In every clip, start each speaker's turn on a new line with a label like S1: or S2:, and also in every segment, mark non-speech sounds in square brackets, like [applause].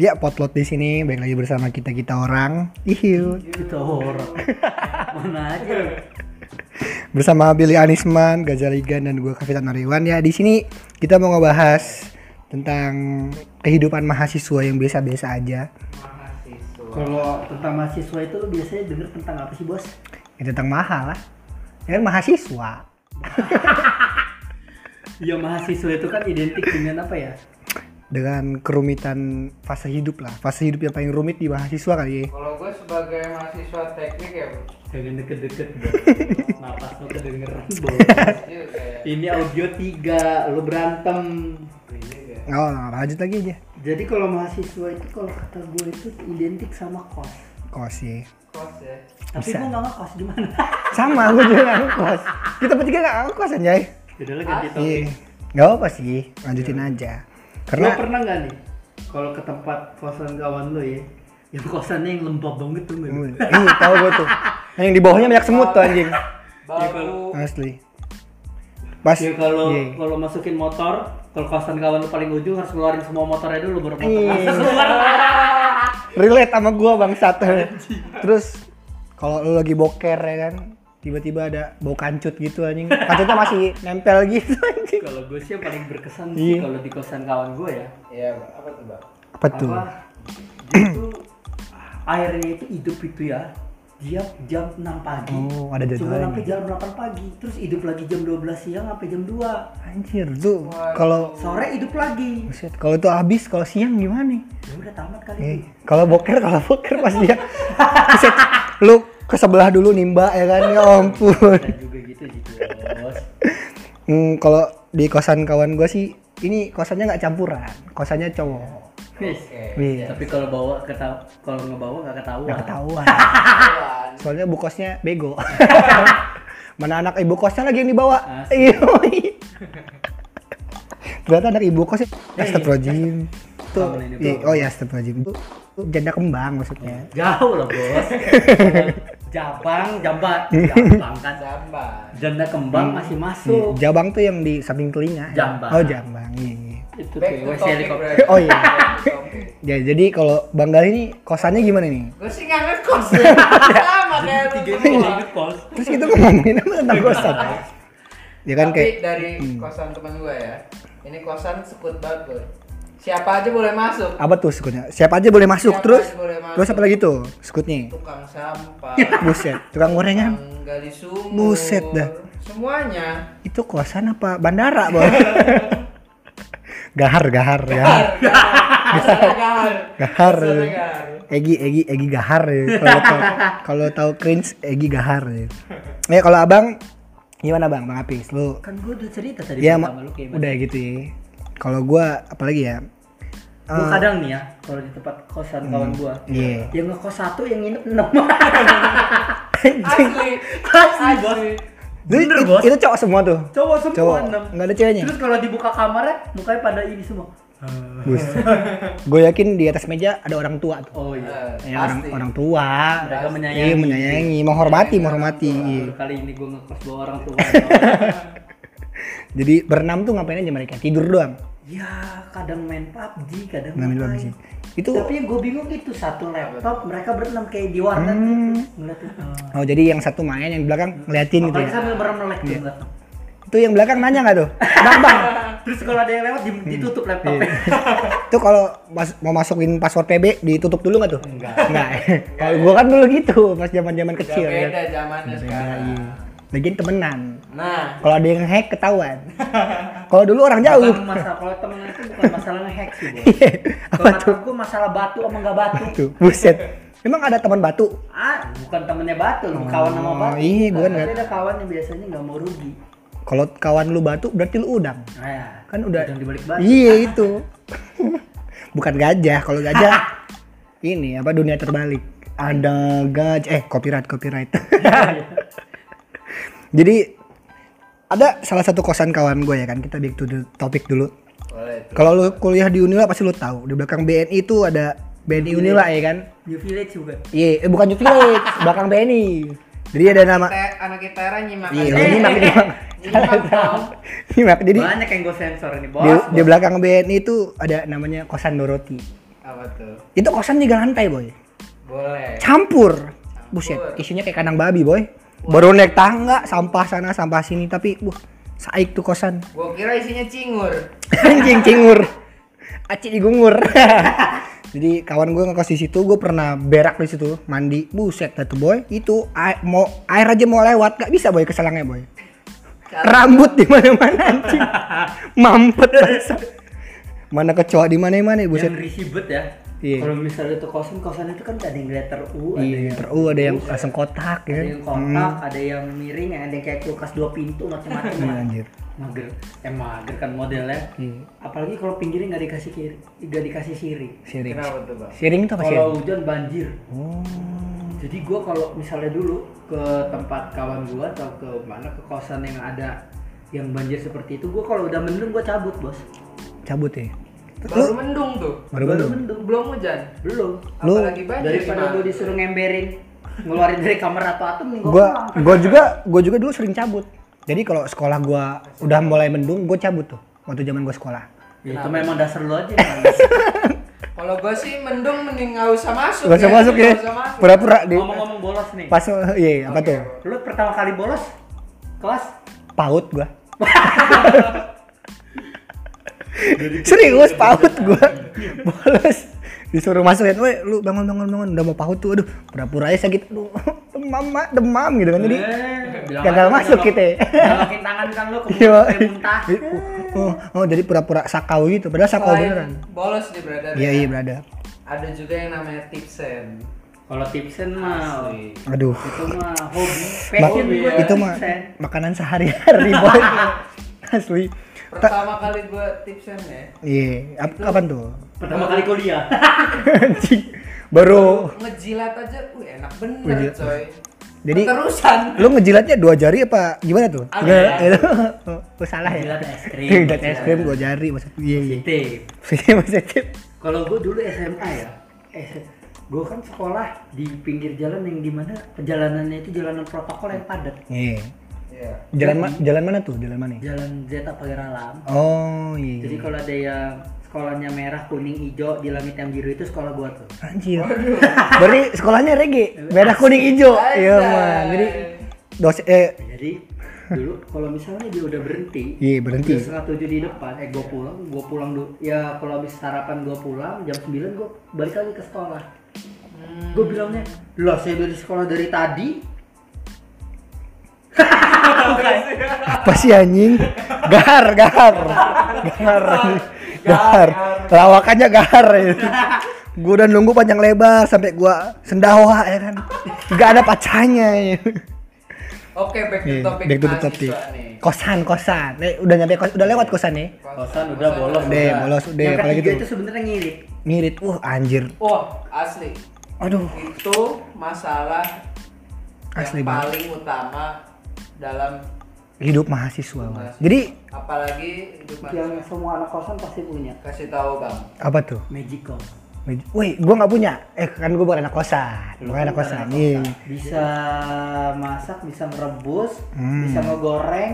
S1: Ya, potlot di sini balik lagi bersama kita kita orang. Ihiu.
S2: Kita [laughs] horor. Mana aja.
S1: Bersama Billy Anisman, Gaza Ligan dan gue Kavitan Nariwan ya. Di sini kita mau ngebahas tentang kehidupan mahasiswa yang biasa-biasa aja.
S2: Kalau tentang mahasiswa itu lu biasanya denger tentang apa sih, Bos?
S1: Ya, tentang mahal lah. Ya kan mahasiswa.
S2: Ya mahasiswa itu kan identik dengan apa ya?
S1: Dengan kerumitan fase hidup lah. Fase hidup yang paling rumit di mahasiswa kali ya.
S3: Kalau gue sebagai mahasiswa teknik ya, Bro.
S2: Jangan deket-deket, [laughs] Bos. Napas lu kedengeran, Bos.
S3: Iya, kayak
S2: Ini audio 3, lu berantem.
S3: ini ya.
S1: Nggak apa-apa, lanjut lagi aja.
S2: Jadi kalau mahasiswa itu kalau kata gue itu identik sama kos.
S1: Kos ya.
S3: Kos ya.
S2: Tapi
S1: Bisa.
S2: gue nggak ngekos di mana.
S1: Sama, gue juga nggak kos. Kita bertiga nggak kos anjay.
S2: [laughs] Udah lah ganti topik.
S1: Iya. Nggak apa sih, lanjutin aja.
S2: Lo
S1: Karena
S2: pernah nggak nih kalau ke tempat kosan kawan lo ya? Yang kosannya yang lembab banget tuh nggak?
S1: Hmm, Iya, tahu gue tuh. Nah, yang di bawahnya banyak semut tuh anjing.
S2: Iya,
S3: Bau.
S1: Asli. Pas
S2: Ya kalau
S1: Iya.
S2: kalau masukin motor, kalau kosan kawan lu paling ujung harus ngeluarin semua motornya dulu baru motor
S1: Iya.
S2: [laughs] masuk keluar.
S1: relate sama gua bangsat. Terus kalau lu lagi boker ya kan, tiba-tiba ada bau kancut gitu anjing. Kancutnya masih nempel gitu anjing.
S2: Kalau gue sih yang paling berkesan
S1: Iya.
S2: sih kalau di kosan kawan gue ya.
S3: Iya, Bang. apa tuh, Bang?
S1: Apa tuh?
S2: Apa? Dia tuh airnya itu hidup itu ya. Dia jam 6 pagi.
S1: Oh, ada
S2: Cuma
S1: jadwalnya.
S2: sampai jam 8 pagi, terus hidup lagi jam 12 siang sampai jam 2.
S1: Anjir, tuh kalau
S2: Sore hidup lagi.
S1: Buset, kalau itu habis, kalau siang gimana nih?
S2: Ya udah tamat kali.
S1: Eh, kalau boker, kalau boker pas dia Buset, lu ke sebelah dulu nimba ya kan, ya ampun.
S2: Kita juga gitu gitu,
S1: [laughs]
S2: Bos.
S1: Hmm, kalau di kosan kawan gue sih, ini kosannya nggak campuran, kosannya cowok.
S2: Wis.
S3: Oke.
S1: Iya.
S2: Tapi kalau bawa ketawa kalau ngebawa nggak ketahuan.
S1: Nggak ketahuan.
S2: Ah.
S3: Kawan.
S1: Soalnya bu kosnya
S2: [laughs]
S1: bego. Mana anak ibu kosnya lagi yang dibawa?
S2: Asli.
S1: Iya. Ternyata anak ibu
S2: Eh,
S1: kosnya.
S2: iya.
S1: Astagfirullahaladzim. Tuh,
S2: Kamu ini,
S1: iya,
S2: Bro.
S1: oh ya astagfirullahaladzim. Tuh, tuh janda kembang maksudnya.
S2: Jauh lah bos. Jabang, jambat, jambang kan.
S3: Jamban.
S2: Janda kembang masih
S1: Iya,
S2: masuk.
S1: Jabang tuh yang di samping telinga. ya?
S2: Jambang.
S1: Oh jambang. Iya. iya.
S2: Itu
S3: Back
S2: tuh
S3: to
S2: WC
S3: topic,
S2: helikopter.
S3: Bro.
S1: Oh iya.
S2: [laughs]
S3: Back to topic.
S1: Ya, jadi kalau Bang Gali ini kosannya gimana nih?
S3: Gue sih nggak
S1: [laughs]
S3: ngekos
S1: Iya.
S3: ya. Sama kayak lu
S2: Tiga ini
S3: semua.
S2: udah inget bos.
S1: Terus gitu kan, kita mau [laughs] ngomongin apa tentang kosan? ya kan
S3: Tapi
S1: kayak
S3: dari kosan teman gue ya. Ini kosan sekut banget, Bro. Siapa aja boleh masuk.
S1: apa tuh skutnya? Siapa aja boleh masuk
S3: Siapa
S1: terus?
S3: aja boleh masuk.
S1: Terus apa lagi tuh skutnya?
S3: Tukang sampah,
S1: Buset, tukang gorengan.
S3: tukang gali sumur.
S1: Iya. Buset dah.
S3: Semuanya.
S1: Itu kosan apa bandara, Bos? [laughs] gahar, gahar, ya.
S3: Gahar.
S1: Gahar.
S3: Kosannya gahar.
S1: Egi, Egi, Egi gahar ya. Kalau tahu kalau tahu cringe Egi gahar ya. Ya kalau Abang gimana Bang? Bang Apis, lu
S2: Kan gue udah cerita tadi
S1: ya
S2: sama lu kayak
S1: udah gitu ya. Kalau gua apalagi ya?
S2: Gue kadang nih ya, kalau di tempat kosan kawan gue,
S1: eh. Iya.
S2: yang ngekos satu, yang nginep enam. [laughs]
S3: Asli.
S2: Asli bos. Bener
S1: Itu-
S2: bos.
S1: Itu cowok semua tuh.
S2: Cowok semua
S1: Cowok.
S2: enam.
S1: Enggak ada ceweknya.
S2: Terus kalau dibuka kamarnya, mukanya pada ini semua. [laughs]
S1: Bus. gue yakin di atas meja ada orang tua tuh.
S2: Oh iya.
S3: Eh,
S1: Ya, orang,
S3: pasti.
S1: orang tua.
S2: Mereka menyayangi.
S1: Iya, menyayangi, menghormati, menghormati. Iya.
S2: Baru kali ini gue ngekos bawa orang tua.
S1: Jadi berenam tuh ngapain aja mereka? Tidur doang.
S2: ya kadang main PUBG, kadang
S1: Nggak minum
S2: main.
S1: sih. Itu
S2: Tapi yang gue bingung itu satu laptop mereka berenam kayak di warnet
S1: Hmm.
S2: ngeliatin. Uh,
S1: Oh, jadi yang satu main yang di belakang ngeliatin gitu
S2: apalagi
S1: ya.
S2: sambil merem melek tuh ngeliatin.
S1: Itu yang belakang nanya nggak
S2: [laughs]
S1: tuh? Bang, bang.
S2: Terus kalau ada yang lewat
S1: Iya.
S2: di- ditutup laptopnya.
S1: [laughs] Itu kalau mas- mau masukin password PB ditutup dulu nggak [laughs] tuh? Enggak. Enggak. kalau gua kan dulu gitu pas zaman-zaman
S3: Udah
S1: kecil ya. iya.
S3: beda zamannya sekarang.
S1: Lagian temenan.
S3: Nah,
S1: Kalau ada yang hack ketahuan. kalau dulu orang jauh.
S2: Bukan masalah kalau temen itu bukan masalah ngehack sih bos.
S1: Ya [laughs] Iya.
S2: Kalau kata gue masalah batu sama nggak batu.
S1: Tuh, buset. Emang ada teman batu?
S2: Ah, bukan temennya batu, lu kawan sama batu.
S1: Oh, iya, gua
S2: Tapi
S1: nggak-
S2: ada kawan yang biasanya nggak mau rugi.
S1: Kalau kawan lu batu berarti lu udang.
S2: Nah, ya.
S1: Kan udah
S2: Udang dibalik batu.
S1: Iya itu. [laughs] Bukan gajah, kalau gajah ini apa dunia terbalik. Ada gajah eh copyright copyright. [laughs]
S2: [laughs]
S1: Jadi ada salah satu kosan kawan gue ya kan kita back to the topic dulu.
S3: boleh tuh.
S1: Kalau lu kuliah di Unila pasti lu tahu di belakang BNI itu ada BNI Unila ya kan.
S2: New Village juga.
S1: Iya, eh, bukan Youth Village, belakang BNI. Jadi ada nama
S3: Te- anak ITERA nyimak
S1: Iya,
S3: aja. Eh,
S1: lu nyimak nyimak.
S3: Nyimak dong.
S1: Nyimak. Jadi
S2: Banyak yang gue sensor ini bos.
S1: di, di belakang BNI itu ada namanya kosan Doroti.
S3: Apa tuh?
S1: Itu kosan tiga lantai boy.
S3: Boleh.
S1: Campur. Buset, isinya kayak kandang babi boy. Baru naik tangga, sampah sana, sampah sini, tapi wah, saik tuh kosan.
S3: Gua kira isinya cingur.
S1: Anjing cingur. Aci digungur. [laughs] Jadi kawan gue ngekos di situ, gue pernah berak di situ, mandi, buset dah tuh boy, itu ai- mau air aja mau lewat, gak bisa boy keselangnya boy. Rambut di mana-mana anjing, mampet [laughs] bangsa. Mana kecoa di mana-mana buset.
S2: yang risih bet ya
S1: Iya.
S2: kalau misalnya itu kosan kosan itu kan ada yang letter U ada
S1: Iya,
S2: yang
S1: ter- oh, ada yang langsung kotak
S2: ada
S1: ya.
S2: yang kotak ada yang miring ada yang kayak kulkas dua pintu macam-macam
S1: Iya,
S2: lah.
S1: anjir.
S2: mager eh mager kan modelnya
S1: Iya.
S2: apalagi kalau pinggirnya nggak dikasih kiri nggak dikasih siring
S1: Siring.
S3: Kenapa tuh, Bang?
S1: Siring Oh, itu apa sih?
S2: kalau hujan banjir jadi gua kalau misalnya dulu ke tempat kawan gua atau ke mana ke kosan yang ada yang banjir seperti itu gua kalau udah mendung gua cabut bos
S1: Cabut ya.
S3: Baru mendung tuh.
S1: Baru mendung.
S2: mendung
S3: Belum hujan.
S2: belum
S1: Lu-
S3: Apalagi banjir.
S2: daripada
S3: gimana?
S2: gua disuruh ngemberin ngeluarin dari kamar atau atom nih gua,
S1: Gua
S2: pulang.
S1: gua juga gua juga dulu sering cabut. Jadi kalau sekolah gua udah mulai mendung, gua cabut tuh waktu zaman gua sekolah.
S2: Ya, itu memang dasar lu aja kan.
S1: [laughs]
S3: Kalau gua sih mendung mending nggak usah masuk.
S1: Gak
S2: Iya,
S1: usah masuk ya.
S3: Nggak usah masuk.
S1: Pura-pura di
S2: ngomong-ngomong bolos nih
S1: pas iya apa tuh?
S2: lu pertama kali bolos kelas
S1: Paut gua. [laughs] Serius paut gua. Bolos disuruh masukin, "Woi, lu bangun bangun bangun, udah mau paut tuh." Aduh, pura-pura aja sakit. Aduh, [laughs] demam, Mak, demam gitu kan. Jadi
S2: Eh, bilang
S1: gagal
S2: aja,
S1: masuk
S2: nyolok-
S1: kita ya.
S2: nyolokin tangan kan lu ke
S1: Iya.
S2: mulut, kayak muntah Oh,
S1: Oh, oh, jadi pura-pura sakau gitu. Padahal sakau
S2: iya.
S3: Selain
S1: beneran.
S3: Bolos di brother.
S1: Iya,
S3: ya.
S1: iya, berada.
S3: Ada juga yang namanya tipsen.
S2: kalau tipsen mah
S3: Asli.
S1: Aduh.
S2: itu mah hobi
S1: Ma-
S2: passion gua
S1: itu mah
S2: tipsen.
S1: makanan sehari-hari boy. [laughs] Asli. Ta-
S3: Pertama kali gua tipsen ya.
S1: Iya, ap- kapan tuh? [laughs]
S2: pertama kali kuliah
S1: Anjing. Baru
S3: Ngejilat aja, uh enak bener
S1: Oh. Ngejilat.
S3: coy.
S1: Jadi-
S3: terusan.
S1: lu ngejilatnya dua jari apa gimana tuh?
S2: Agak.
S1: Nggak, itu. [laughs] Oh, salah ya.
S2: ya? Ngejilat es
S1: [laughs]
S2: krim.
S1: Ngejilat es krim dua jari maksud Iya, iya.
S2: [laughs] Tip.
S1: Maksudnya
S2: kalau gua dulu SMA ya eh, gua kan sekolah di pinggir jalan yang dimana perjalanannya itu jalanan protokol yang padat
S1: Iya.
S3: Iya.
S1: Jalan ma- jalan mana tuh? Jalan mana?
S2: jalan Zeta Pageralam
S1: Oh, iya.
S2: jadi kalau ada yang sekolahnya merah kuning hijau di langit yang biru itu sekolah gua tuh
S1: Anjir. Berarti sekolahnya reggae, merah kuning hijau.
S3: Anjay.
S1: Iya, man. Jadi dosen eh
S2: Ya, jadi
S1: [laughs]
S2: dulu kalau misalnya dia udah berhenti
S1: iya berhenti.
S2: Udah setengah tujuh di depan, eh gue pulang, gue pulang dulu. Ya kalau habis sarapan gue pulang, jam 9 gue balik lagi ke sekolah. Gue bilangnya, loh saya dari sekolah dari tadi.
S1: Apa sih anjing? Gahar, gahar. Gahar. Gahar. Lawakannya gahar. Ya. Gue udah nunggu panjang lebar sampai gua sendawa ya kan. Gak ada pacanya. Ya.
S3: Oke, back to
S1: Iya,
S3: topic
S1: Back to the topic.
S3: mahasiswa nih.
S1: Kosan, kosan. Eh, udah nyampe kos, udah lewat kosan nih.
S2: Kosan udah bolos.
S1: Deh, bolos udah
S2: yang
S1: apalagi
S2: ketiga
S1: tuh.
S2: itu sebenarnya ngirit.
S1: Ngirit, wah anjir.
S3: Wah, asli.
S1: Aduh,
S3: Itu masalah
S1: Asli
S3: yang
S1: banget.
S3: paling utama dalam
S1: hidup mahasiswa. Bang. Jadi
S3: apalagi hidup
S2: Yang
S3: manusia.
S2: semua anak kosan pasti punya.
S3: Kasih tahu, Bang.
S1: apa tuh?
S2: Magical.
S1: Woi, gua nggak punya. Eh, kan gua bukan anak kosan.
S2: Lu
S1: Bukan anak
S2: bukan
S1: kosan.
S2: anak
S1: Iya.
S2: Bisa masak, bisa merebus,
S1: Hmm.
S2: bisa ngegoreng,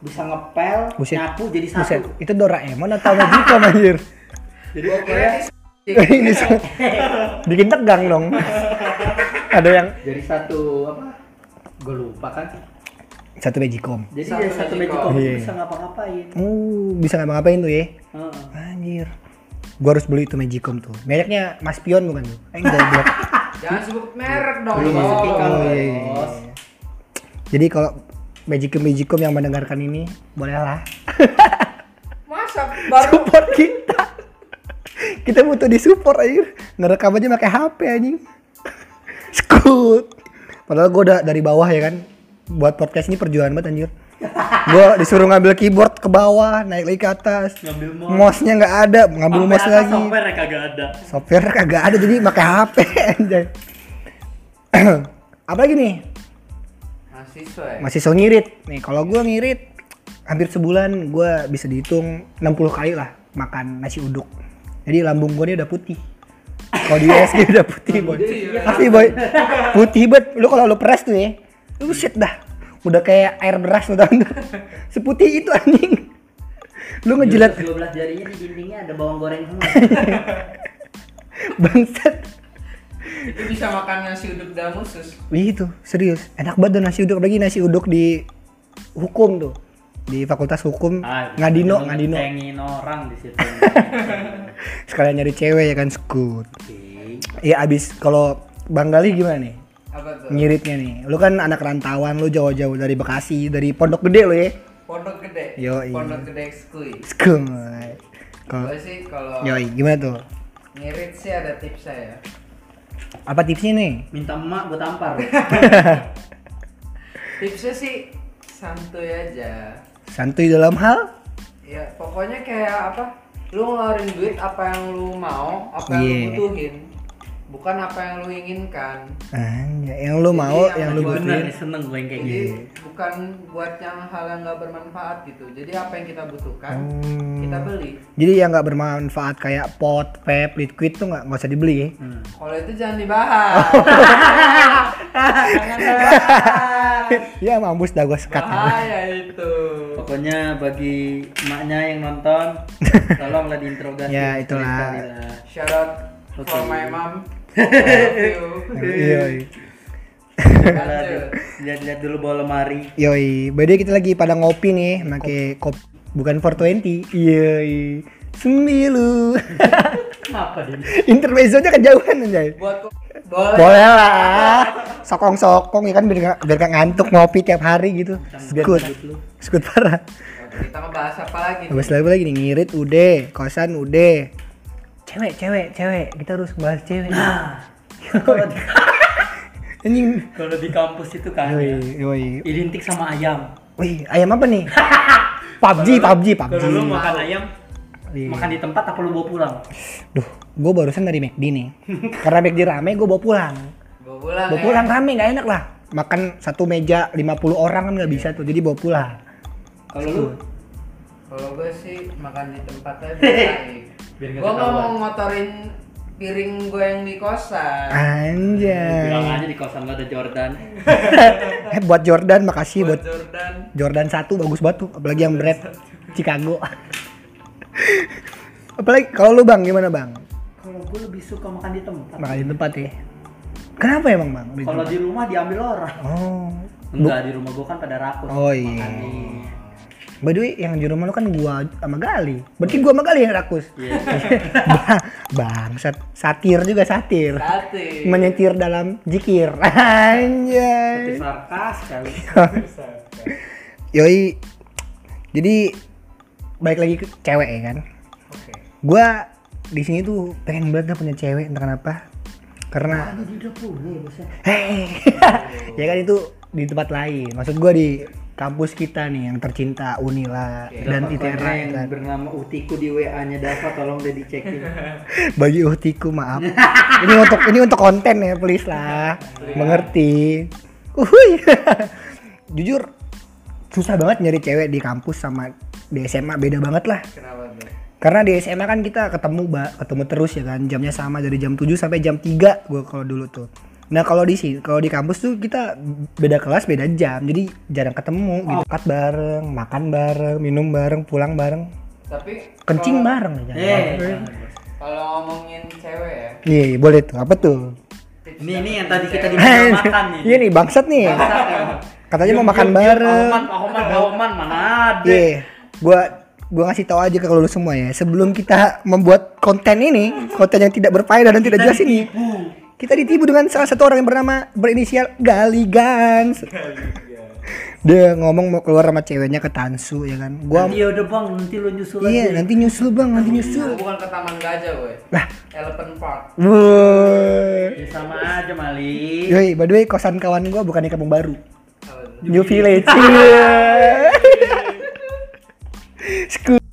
S2: bisa ngepel,
S1: Buset.
S2: nyapu jadi satu.
S1: Buset, itu Doraemon atau Nobita anjir?
S2: Jadi ya.
S3: Gua kira
S2: pokoknya
S3: ini
S1: Ini se- bikin tegang dong. Ada yang
S2: jadi satu apa? Gue lupa kan.
S1: satu magicom.
S2: Jadi
S3: Satu
S2: dari satu magic Iya.
S3: magic
S2: combo
S1: combo.
S2: bisa ngapa-ngapain.
S1: Uh, bisa nggak ngapain tuh ya?
S2: Heeh.
S1: Anjir. Gua harus beli itu magicom tuh. Mereknya Mas Pion bukan tuh? Eh, goblok.
S3: jangan sebut merek dong.
S2: Belum
S3: Bang.
S2: masuk iklan,
S1: Oh, iya, iya,
S2: bos.
S1: iya. Jadi kalau magicom magicom yang mendengarkan ini bolehlah
S3: Masa baru
S1: support kita. kita butuh disupport anjir. Ngerekam aja pakai HP anjing. Skut. Padahal gue udah dari bawah ya kan. Buat podcast ini perjuangan banget anjir. Gue disuruh ngambil keyboard ke bawah, naik lagi ke atas.
S2: Ngambil mouse.
S1: Mouse-nya nggak ada, ngambil
S2: Hmm. Sampai
S1: mouse
S2: atas
S1: lagi.
S2: Software ya, kagak ada.
S1: Software kagak ada jadi pakai HP anjay. [clears throat] Apalagi nih?
S3: mahasiswa ya?
S1: Masih so ngirit. Nih, kalau gue ngirit hampir sebulan gue bisa dihitung 60 kali lah makan nasi uduk. Jadi lambung gue ini udah putih. Kalau di USG udah putih, boy. Asli, boy. Putih banget. Lu kalau lu peres tuh ya, lu shit dah. Udah kayak air beras lu tau nggak? Seputih itu anjing. Lu ngejilat
S2: [laughs] 12 jarinya di dindingnya ada bawang goreng semua.
S1: Bangsat.
S3: Itu bisa makan nasi uduk dalam usus.
S1: Wih itu serius enak banget tuh nasi uduk lagi nasi uduk di hukum tuh di fakultas hukum ngadino ngadino
S2: Cengin Ah, orang di [laughs] situ.
S1: sekalian nyari cewek ya kan sekut
S2: Oke.
S1: ya abis kalau bang Gali gimana nih
S3: Apa tuh?
S1: ngiritnya nih lu kan anak rantauan lu jauh-jauh dari Bekasi dari Pondok Gede lu ya
S3: Pondok gede.
S1: Yoi.
S3: Pondok gede ekskui.
S1: sekut
S3: Gue sih kalau
S1: yoi gimana tuh
S3: ngirit sih ada tips saya.
S1: apa tipsnya nih
S2: Minta emak gue tampar.
S3: Tipsnya sih santuy aja.
S1: santuy dalam hal
S3: Ya pokoknya kayak apa? Lu ngeluarin duit apa yang lu mau, apa yang
S1: Iya.
S3: lu butuhin. Bukan apa yang lu inginkan.
S1: Anjay, yang lu
S3: Jadi
S1: mau
S3: yang
S1: yang lu
S3: kedua-
S2: Bener
S1: butuhin
S2: nih seneng gue yang kayak
S3: Jadi
S2: gitu.
S1: Iya.
S3: bukan buat yang hal yang nggak bermanfaat gitu. Jadi apa yang kita butuhkan,
S1: Hmm.
S3: kita beli.
S1: jadi yang nggak bermanfaat kayak pot, vape, liquid tuh nggak nggak usah dibeli ya.
S2: Hmm.
S3: Kalau itu jangan
S1: [laughs]
S3: dibahas. jangan dibahas.
S1: Ya mampus dah gua sekat.
S3: Bahaya itu.
S2: Pokoknya bagi emaknya yang [laughs] nonton, tolonglah diinterogasi.
S1: Ya, itulah.
S2: Sekali-kali lah.
S3: Shout out for
S2: Oke.
S3: my mom.
S1: [laughs]
S3: I love you.
S1: Yoi.
S2: Tolonglah di- Lihat-lihat dulu bawah lemari.
S1: Yoi, by the way kita lagi pada ngopi nih, make kopi bukan 420. Yoi. Sembilu. [laughs]
S2: Kenapa dia?
S1: Intermezzonya kejauhan anjay.
S3: Buat ko- boleh.
S1: Boleh lah. Sokong-sokong ya kan biar nggak- biar nggak ngantuk ngopi tiap hari gitu. Sekut.
S2: lu.
S1: Sekut parah.
S3: Kita ngebahas apa lagi? nih?
S1: Habis lagi lagi nih ngirit udah, kosan udah. Cewek, cewek, cewek. Kita harus bahas cewek.
S2: Nah, kalau di-
S1: [laughs] Anjing.
S2: kalau di kampus itu kan ya,
S1: Yoi, yoi.
S2: identik sama ayam.
S1: Wih, ayam apa [laughs] nih? PUBG, PUBG, PUBG.
S2: Kalau lu makan ayam,
S1: Iya.
S2: makan di tempat apa lu bawa pulang?
S1: Duh, gue barusan dari McD nih. Karena McD rame, gue bawa pulang.
S3: Bawa pulang.
S1: Bawa
S3: ya.
S1: pulang rame, nggak enak lah. Makan satu meja 50 orang kan nggak bisa tuh, jadi bawa pulang.
S2: Kalau lu
S3: Kalau gue sih makan di tempat aja biasa.
S2: Biar nggak
S3: Gue nggak mau
S2: ketahuan.
S3: ngotorin piring gue yang di kosan.
S1: Eh.
S2: [laughs] bilang
S1: Anjay.
S2: aja di kosan lu ada Jordan.
S1: Eh, buat Jordan, makasih buat
S3: Buat
S1: Jordan
S3: Jordan.
S1: 1 bagus banget tuh, apalagi yang bread Chicago. [laughs] apalagi kalau lu Bang gimana Bang?
S2: Kalau gue lebih suka makan di tempat.
S1: Makan di tempat ya. Kenapa emang Bang? Di
S2: Kalau
S1: tempat?
S2: di rumah diambil orang.
S1: Oh. Bu-
S2: Enggak, di rumah gue kan pada rakus.
S1: Oh, iya.
S2: makannya.
S1: By the way, yang di rumah lu kan gua sama Gali. Berarti gua sama Gali yang rakus.
S2: Iya.
S1: Ba- Bangsat, satir juga satir.
S3: Tati.
S1: Menyetir dalam jikir. [laughs]
S2: Tapi
S1: Anjay.
S2: sarkas kali.
S1: Yoi. Jadi balik lagi ke cewek ya kan.
S3: Oke.
S1: Gua di sini tuh pengen banget dah punya cewek entah kenapa. Karena
S2: Ini udah punya bosnya.
S1: hei. [laughs] ya kan itu di tempat lain. Maksud gua di kampus kita nih yang tercinta Unila dan
S2: Dapat
S1: ITERA ya
S2: konten yang
S1: kan.
S2: bernama Utiku di WA-nya Dava tolong deh
S1: [laughs]
S2: dicekin. Iya,
S1: bagi uhtiku maaf ini untuk ini untuk konten ya please lah mengerti uhuy [laughs] jujur susah banget nyari cewek di kampus sama di SMA beda banget lah
S3: Kenapa tuh?
S1: karena di SMA kan kita ketemu ba- ketemu terus ya kan jamnya sama dari jam 7 sampai jam 3 gua kalau dulu tuh nah kalau di sini kalau di kampus tuh kita beda kelas beda jam jadi jarang ketemu gitu Makan bareng makan bareng minum bareng pulang bareng
S3: Tapi
S1: kencing
S3: kalau-
S1: bareng ya
S2: Eh,
S1: jangan.
S2: jangan, bos.
S3: Kalau ngomongin cewek ya.
S1: Iya, iya, boleh tuh apa tuh
S2: Ini-
S3: tips dapetin
S2: ini yang tadi kita
S1: Eh,
S3: cewek.
S2: di-
S1: [laughs]
S2: makan nih.
S1: Iya nih bangsat nih.
S2: Bangsat emang.
S1: Katanya mau
S2: Yuk,
S1: makan
S2: yuk, yuk,
S1: bareng.
S2: Ahoman, ahoman, ahoman, mana ada?
S1: Iya. Gua gua ngasih tahu aja ke lu semua ya. Sebelum kita membuat konten ini, konten yang tidak berfaedah dan tidak jelas ini, kita ditipu dengan salah satu orang yang bernama berinisial Gali Gans. Dia ngomong mau keluar sama ceweknya ke Tansu ya kan. Gua
S2: Nanti ya udah bang, nanti lu nyusul
S1: Iya,
S2: aja.
S1: nanti nyusul Bang, nanti
S3: Gua
S1: nyusul.
S3: bukan ke Taman Gajah, gue.
S1: Lah.
S3: Elephant Park.
S1: Woi.
S2: Ya sama aja Mali.
S1: Yoi, by the way kosan kawan gua bukan di Kampung Baru.
S3: Apa
S1: [laughs]
S3: tuh?
S1: New Village. Iya. Scoop.